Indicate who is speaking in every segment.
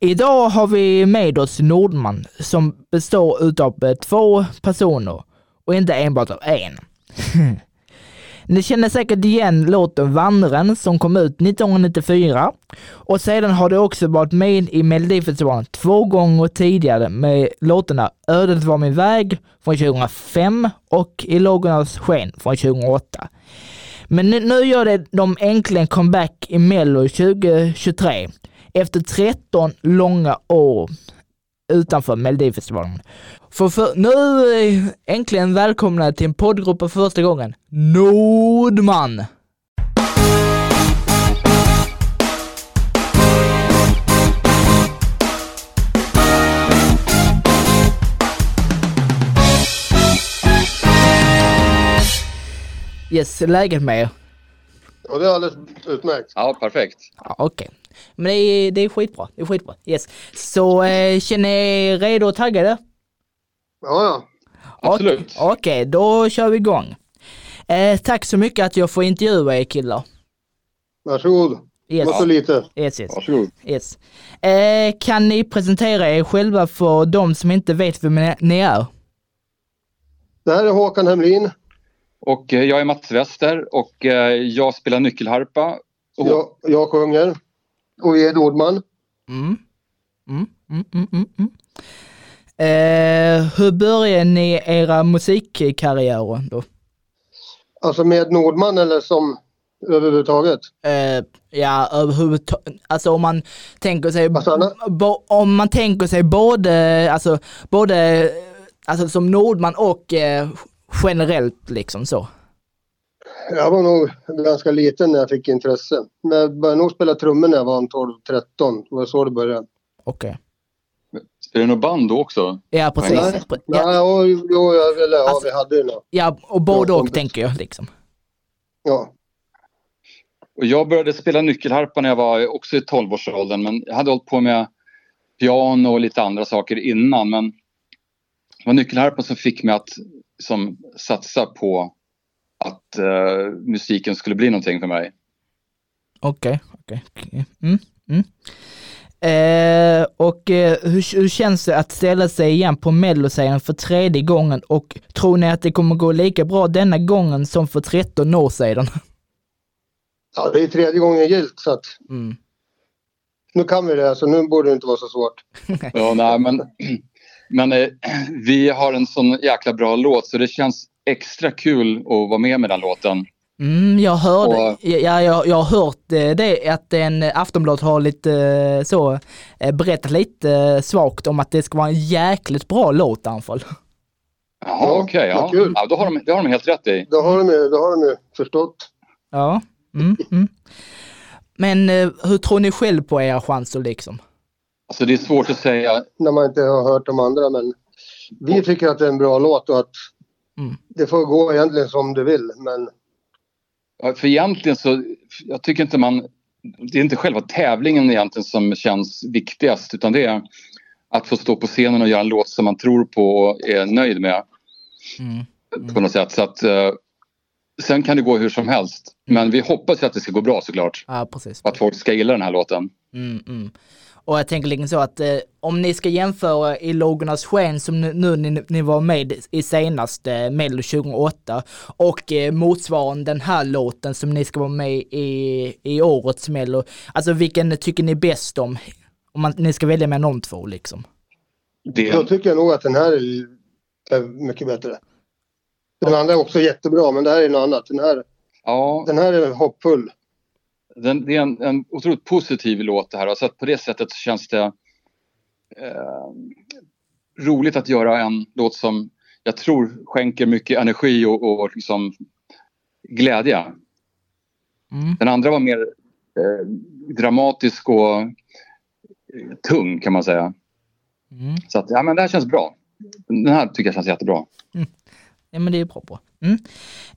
Speaker 1: Idag har vi med oss Nordman som består utav eh, två personer och inte enbart av en. Ni känner säkert igen låten Vandraren som kom ut 1994 och sedan har det också varit med i Melodifestivalen två gånger tidigare med låtarna Ödet var min väg från 2005 och I lågornas sken från 2008. Men nu, nu gör det de äntligen comeback i Mello 2023 efter 13 långa år utanför Melodifestivalen. För, för nu eh, äntligen välkomna till en poddgrupp för första gången. Nordman! Yes, läget med er?
Speaker 2: Och det är alldeles utmärkt.
Speaker 3: Ja, perfekt.
Speaker 1: Ja, Okej. Men det är, det är skitbra. Det är skitbra. Yes. Så eh, känner ni er redo och taggade?
Speaker 2: Ja, ja.
Speaker 3: Absolut.
Speaker 1: Okej, okej, då kör vi igång. Eh, tack så mycket att jag får intervjua er killar.
Speaker 2: Varsågod.
Speaker 1: Yes,
Speaker 2: Mått så lite.
Speaker 1: yes, yes.
Speaker 3: Varsågod.
Speaker 1: yes. Eh, kan ni presentera er själva för de som inte vet vem ni är?
Speaker 2: Det här är Håkan Hemlin.
Speaker 3: Och eh, jag är Mats Wester och eh, jag spelar nyckelharpa. Och,
Speaker 2: Jag, jag sjunger. Och vi är Nordman.
Speaker 1: Mm. Mm, mm, mm, mm, mm. Eh, hur började ni era musikkarriärer då?
Speaker 2: Alltså med Nordman eller som överhuvudtaget.
Speaker 1: Eh, ja, överhuvudtaget. Alltså om man tänker sig,
Speaker 2: Vad sa han?
Speaker 1: bo, om man tänker sig både, alltså både, eh, alltså som Nordman och eh, generellt liksom så.
Speaker 2: Jag var nog ganska liten när jag fick intresse. Men jag började nog spela trummor när jag var 12-13. Det var så det började.
Speaker 1: Okej.
Speaker 3: Spelar du något band då också?
Speaker 1: Ja, precis.
Speaker 2: Nej,
Speaker 1: Pre- Ja,
Speaker 2: Nej, och, jo, jag, eller, ja,
Speaker 1: Alltså-
Speaker 2: vi hade ju något.
Speaker 1: ja, och både
Speaker 2: Ja,
Speaker 1: och
Speaker 2: kompis.
Speaker 1: tänker jag liksom.
Speaker 2: Ja.
Speaker 3: Och jag började spela nyckelharpa när jag var eh, också i 12-årsåldern. Men jag hade hållit på med piano och lite andra saker innan. Men det var nyckelharpan som fick mig att som, satsa på att eh, musiken skulle bli någonting för mig.
Speaker 1: Okej, okej. okej. Mm, mm. Eh, och eh, hur, hur känns det att ställa sig igen på melloserien för tredje gången och tror ni att det kommer gå lika bra denna gången som för 13 år sedan?
Speaker 2: ja, det är tredje gången gillt så att
Speaker 1: Mm.
Speaker 2: nu kan vi det. Så nu borde det inte vara så svårt.
Speaker 3: Ja, nej, men men eh, vi har en sån jäkla bra låt så det känns extra kul att vara med med den låten.
Speaker 1: Mm, jag hörde,
Speaker 3: Och-
Speaker 1: ja, jag, jag har hört eh, det att en eh, Aftonbladet har lite eh, så eh, berättat lite eh, svagt om att det ska vara en jäkligt bra låt i alla fall.
Speaker 3: Jaha,
Speaker 2: Ja,
Speaker 3: okej. ja.
Speaker 2: vad kul.
Speaker 3: Ja, då har de, det har de helt rätt i.
Speaker 2: Det har de ju, det har de ju förstått.
Speaker 1: Ja. Mm, mm. Men eh, hur tror ni själv på era chanser liksom?
Speaker 3: Alltså, det är svårt att säga.
Speaker 2: när man inte har hört de andra. Men vi tycker att det är en bra låt och att
Speaker 1: Mm.
Speaker 2: det får gå egentligen som du vill. Men
Speaker 3: Ja, För egentligen så, jag tycker inte man... Det är inte själva tävlingen egentligen som känns viktigast utan det är att få stå på scenen och göra en låt som man tror på och är nöjd med
Speaker 1: Mm.
Speaker 3: på något sätt. Så att, eh, sen kan det gå hur som helst. Men vi hoppas ju att det ska gå bra såklart.
Speaker 1: Ja, precis.
Speaker 3: Och att folk ska gilla den här låten.
Speaker 1: Mm, mm. Och jag tänker liksom så att eh, om ni ska jämföra i Lågornas sken som nu, nu ni, ni var med i senaste eh, Mello 2008 och eh, motsvarande den här låten som ni ska vara med i i årets Mello. Alltså vilken tycker ni bäst om? Om man, ni ska välja mellan de två liksom.
Speaker 3: Det
Speaker 2: då tycker jag nog att den här är- är mycket bättre. Den andra är också jättebra men det här är något annat. Den här,
Speaker 3: ja,
Speaker 2: den här är hoppfull.
Speaker 3: den, det är en, en otroligt positiv låt det här. och Så att på det sättet så känns det eh, roligt att göra en låt som jag tror skänker mycket energi och, och liksom glädje.
Speaker 1: Mm.
Speaker 3: Den andra var mer eh, dramatisk och eh, tung kan man säga.
Speaker 1: Mm.
Speaker 3: Så att, ja men det här känns bra. Den här tycker jag känns jättebra.
Speaker 1: Ja men det är bra. bra. Mm.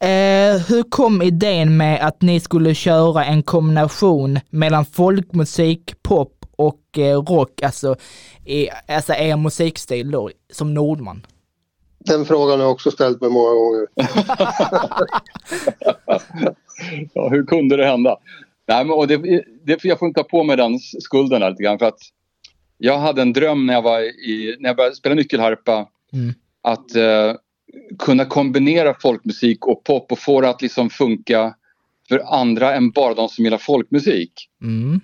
Speaker 1: Eh, hur kom idén med att ni skulle köra en kombination mellan folkmusik, pop och eh, rock, alltså, i, alltså er musikstil då, som Nordman?
Speaker 2: Den frågan har jag också ställt mig många gånger.
Speaker 3: Ja, hur kunde det hända? Nej, men, och det, det, jag får inte ta på mig den skulden där lite grann. För att jag hade en dröm när jag, var i, när jag började spela nyckelharpa
Speaker 1: Mm.
Speaker 3: att eh, kunna kombinera folkmusik och pop och få det att liksom funka för andra än bara de som gillar folkmusik.
Speaker 1: Mm.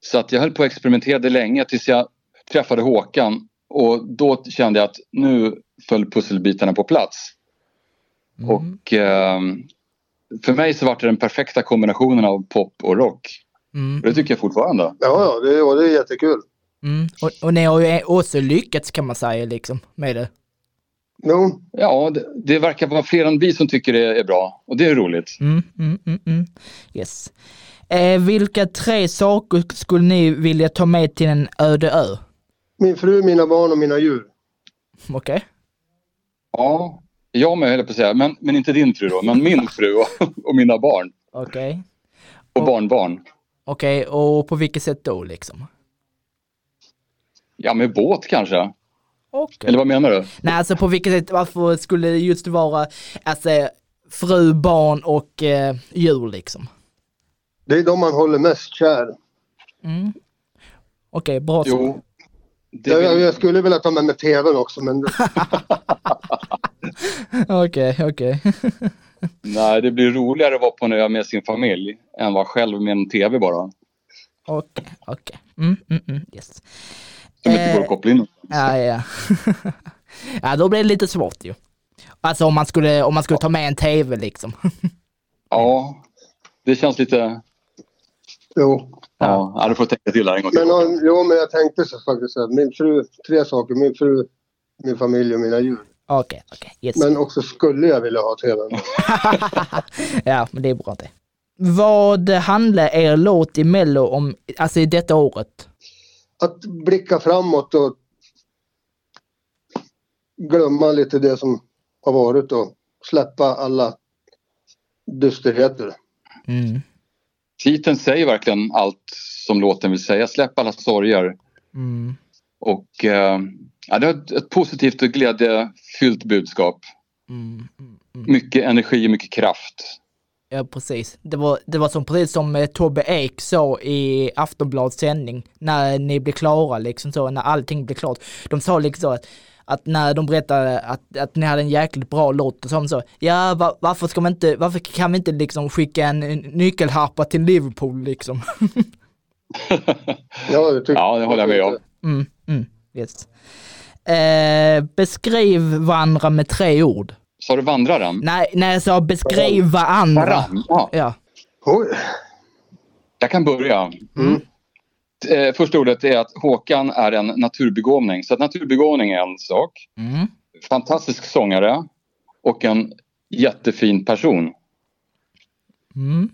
Speaker 3: Så att jag höll på och experimenterade länge tills jag träffade Håkan och då kände jag att nu föll pusselbitarna på plats.
Speaker 1: Mm.
Speaker 3: Och ehm, för mig så var det den perfekta kombinationen av pop och rock.
Speaker 1: Mm.
Speaker 3: Och det tycker jag fortfarande.
Speaker 2: Ja, ja, det, ja, det är jättekul.
Speaker 1: Mm. Och, och ni har ju också lyckats kan man säga liksom med det.
Speaker 2: Jo,
Speaker 3: Ja, det, det verkar vara fler än vi som tycker det är bra och det är roligt.
Speaker 1: Mm, mm, mm, mm. Yes. Eh, vilka tre saker skulle ni vilja ta med till en öde ö?
Speaker 2: min fru, mina barn och mina djur.
Speaker 1: Okej?
Speaker 3: Ja, jag med höll jag på att säga. Men, men inte din fru då, men min fru och, och mina barn.
Speaker 1: Okej.
Speaker 3: Och barnbarn.
Speaker 1: Okej, och på vilket sätt då liksom?
Speaker 3: Ja, med båt kanske.
Speaker 1: Okej.
Speaker 3: Eller vad menar du?
Speaker 1: Nej, alltså på vilket sätt, varför skulle det just vara alltså, fru, barn och eh, djur liksom?
Speaker 2: Det är de man håller mest kär.
Speaker 1: Mm. Okej, bra svar.
Speaker 3: Jo. Det
Speaker 2: jag, jag-
Speaker 3: vill,
Speaker 2: jag skulle vilja ta med mig tvn också, men
Speaker 1: Okej, okej.
Speaker 3: nej, det blir roligare att vara på en ö med sin familj än vara själv med en tv bara.
Speaker 1: Okej, okej. Mm, mm, mm, yes.
Speaker 3: Som inte
Speaker 1: Eh.
Speaker 3: går att koppla in.
Speaker 1: Ja, ja. ja, då blir det lite svårt ju. Alltså om man skulle, om man skulle ta med en tv liksom.
Speaker 3: Ja, det känns lite...
Speaker 2: jo.
Speaker 3: Ja, ja du får tänka till där en gång till.
Speaker 2: Men, om- jo, men jag tänkte så faktiskt så här. Min fru, tre saker. Min fru, min familj och mina djur.
Speaker 1: Okej, okej. Yes.
Speaker 2: Men också skulle jag vilja ha tvn.
Speaker 1: Ja, men det är bra det. Vad handlar er låt i Mello om, alltså i detta året?
Speaker 2: Att blicka framåt och glömma lite det som har varit och släppa alla dysterheter.
Speaker 1: Mm.
Speaker 3: Titeln säger verkligen allt som låten vill säga. Släpp alla sorger.
Speaker 1: Mm.
Speaker 3: Och eh, ja, det är ett, ett positivt och glädjefyllt budskap.
Speaker 1: Mm. mm, mm.
Speaker 3: Mycket energi och mycket kraft.
Speaker 1: Ja, precis. Det var, det var som precis som eh, Tobbe Ek sa i Aftonbladets sändning, när ni blev klara liksom så, när allting blev klart. De sa liksom så att, att när de berättade att, att ni hade en jäkligt bra låt, och så sa de så, ja va, varför ska man inte, varför kan vi inte liksom skicka en nyckelharpa till Liverpool liksom?
Speaker 2: Ja, det, tycker
Speaker 3: Ja, det håller jag med om.
Speaker 1: Mm, mm, yes. Eh, beskriv varandra med tre ord.
Speaker 3: Sa du vandraren?
Speaker 1: Nej, när jag sa beskriv varandra.
Speaker 3: Varann? Ja,
Speaker 1: Ja.
Speaker 2: Oj.
Speaker 3: jag kan börja. Eh, första ordet är att Håkan är en naturbegåvning. Så att naturbegåvning är en sak.
Speaker 1: Mm.
Speaker 3: Fantastisk sångare och en jättefin person.
Speaker 1: Mm.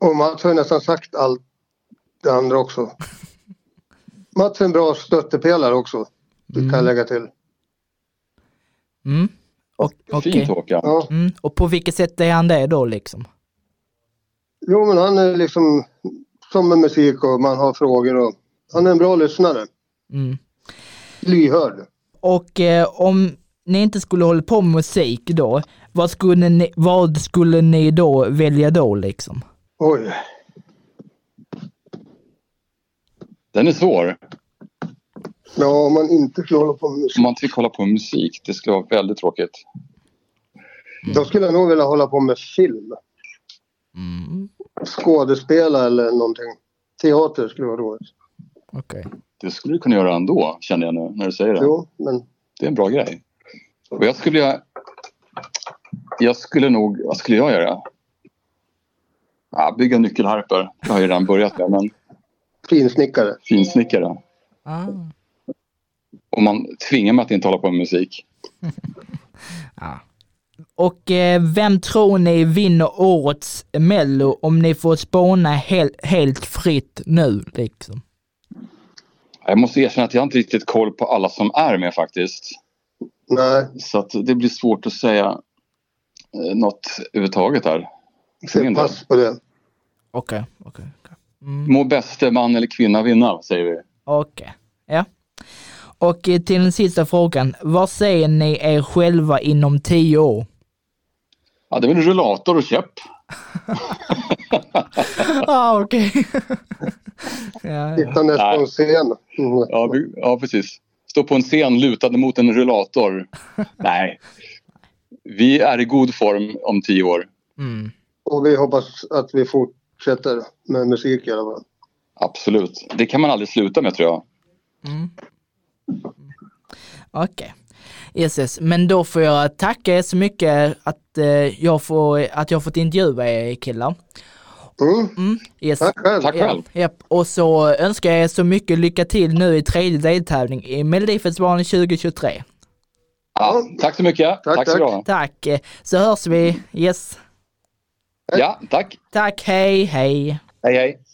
Speaker 2: Och Mats har ju nästan sagt allt det andra också. Mats är en bra stöttepelare också. Det kan jag lägga till.
Speaker 1: Mm. Och, okej.
Speaker 3: Fint Håkan.
Speaker 2: Ja.
Speaker 1: Mm. Och på vilket sätt är han det då liksom?
Speaker 2: Jo, men han är liksom som med musik och man har frågor och han är en bra lyssnare.
Speaker 1: Mm.
Speaker 2: Lyhörd.
Speaker 1: Och eh, om ni inte skulle hålla på med musik då, vad skulle ni, vad skulle ni då välja då liksom?
Speaker 2: Oj.
Speaker 3: Den är svår.
Speaker 2: Ja, om man inte skulle hålla på med
Speaker 3: Om
Speaker 2: musik.
Speaker 3: man inte fick hålla på med musik, det skulle vara väldigt tråkigt.
Speaker 2: Då skulle jag nog vilja hålla på med film.
Speaker 1: Mm.
Speaker 2: Skådespela eller någonting. Teater skulle vara roligt.
Speaker 1: Okej.
Speaker 3: Det skulle du kunna göra ändå, känner jag nu när du säger det.
Speaker 2: Jo, men
Speaker 3: Det är en bra grej. Och jag skulle göra... Jag skulle nog... Vad skulle jag göra? Ja, bygga nyckelharpor. Det har jag redan börjat med, men
Speaker 2: finsnickare.
Speaker 3: finsnickare.
Speaker 1: Ah.
Speaker 3: Och man tvingar mig att inte hålla på med musik.
Speaker 1: Och eh, vem tror ni vinner årets Mello om ni får spåna hel, helt fritt nu liksom?
Speaker 3: Jag måste erkänna att jag inte riktigt koll på alla som är med faktiskt.
Speaker 2: Nej,
Speaker 3: Så att det blir svårt att säga eh, något överhuvudtaget här. För min
Speaker 2: se
Speaker 3: del.
Speaker 2: pass på det.
Speaker 1: Okej, okej. okej. Mm.
Speaker 3: Må bäste man eller kvinna vinna, säger vi.
Speaker 1: Okej, ja. Och eh, till den sista frågan, vad säger ni er själva inom tio år?
Speaker 3: Ja, det är väl rullator och käpp.
Speaker 1: ah, okej. ja, ja.
Speaker 2: Sittandes på
Speaker 3: Nej.
Speaker 2: en scen. Mm.
Speaker 3: Ja, vi, ja, precis. Stå på en scen lutade mot en rullator. Nej. Vi är i god form om tio år.
Speaker 1: Mm.
Speaker 2: Och vi hoppas att vi fortsätter med musik i alla fall.
Speaker 3: Absolut. Det kan man aldrig sluta med tror jag.
Speaker 1: Mm. Okej. Yes, yes. Men då får jag tacka er så mycket att, eh, jag, får, att jag fått intervjua er killar.
Speaker 2: Mm.
Speaker 1: Mm. Yes.
Speaker 2: Tack själv.
Speaker 3: Tack. själv.
Speaker 1: Ja, japp. Och så önskar jag er så mycket lycka till nu i tredje deltävling i Melodifestivalen 2023.
Speaker 3: Ja,
Speaker 2: Ja.
Speaker 3: tack så mycket.
Speaker 2: Tack,
Speaker 3: Tack, så
Speaker 2: tack.
Speaker 3: bra.
Speaker 1: Tack, eh, så hörs vi. Yes.
Speaker 3: Ja, tack.
Speaker 1: Tack, hej, hej.
Speaker 3: Hej, hej.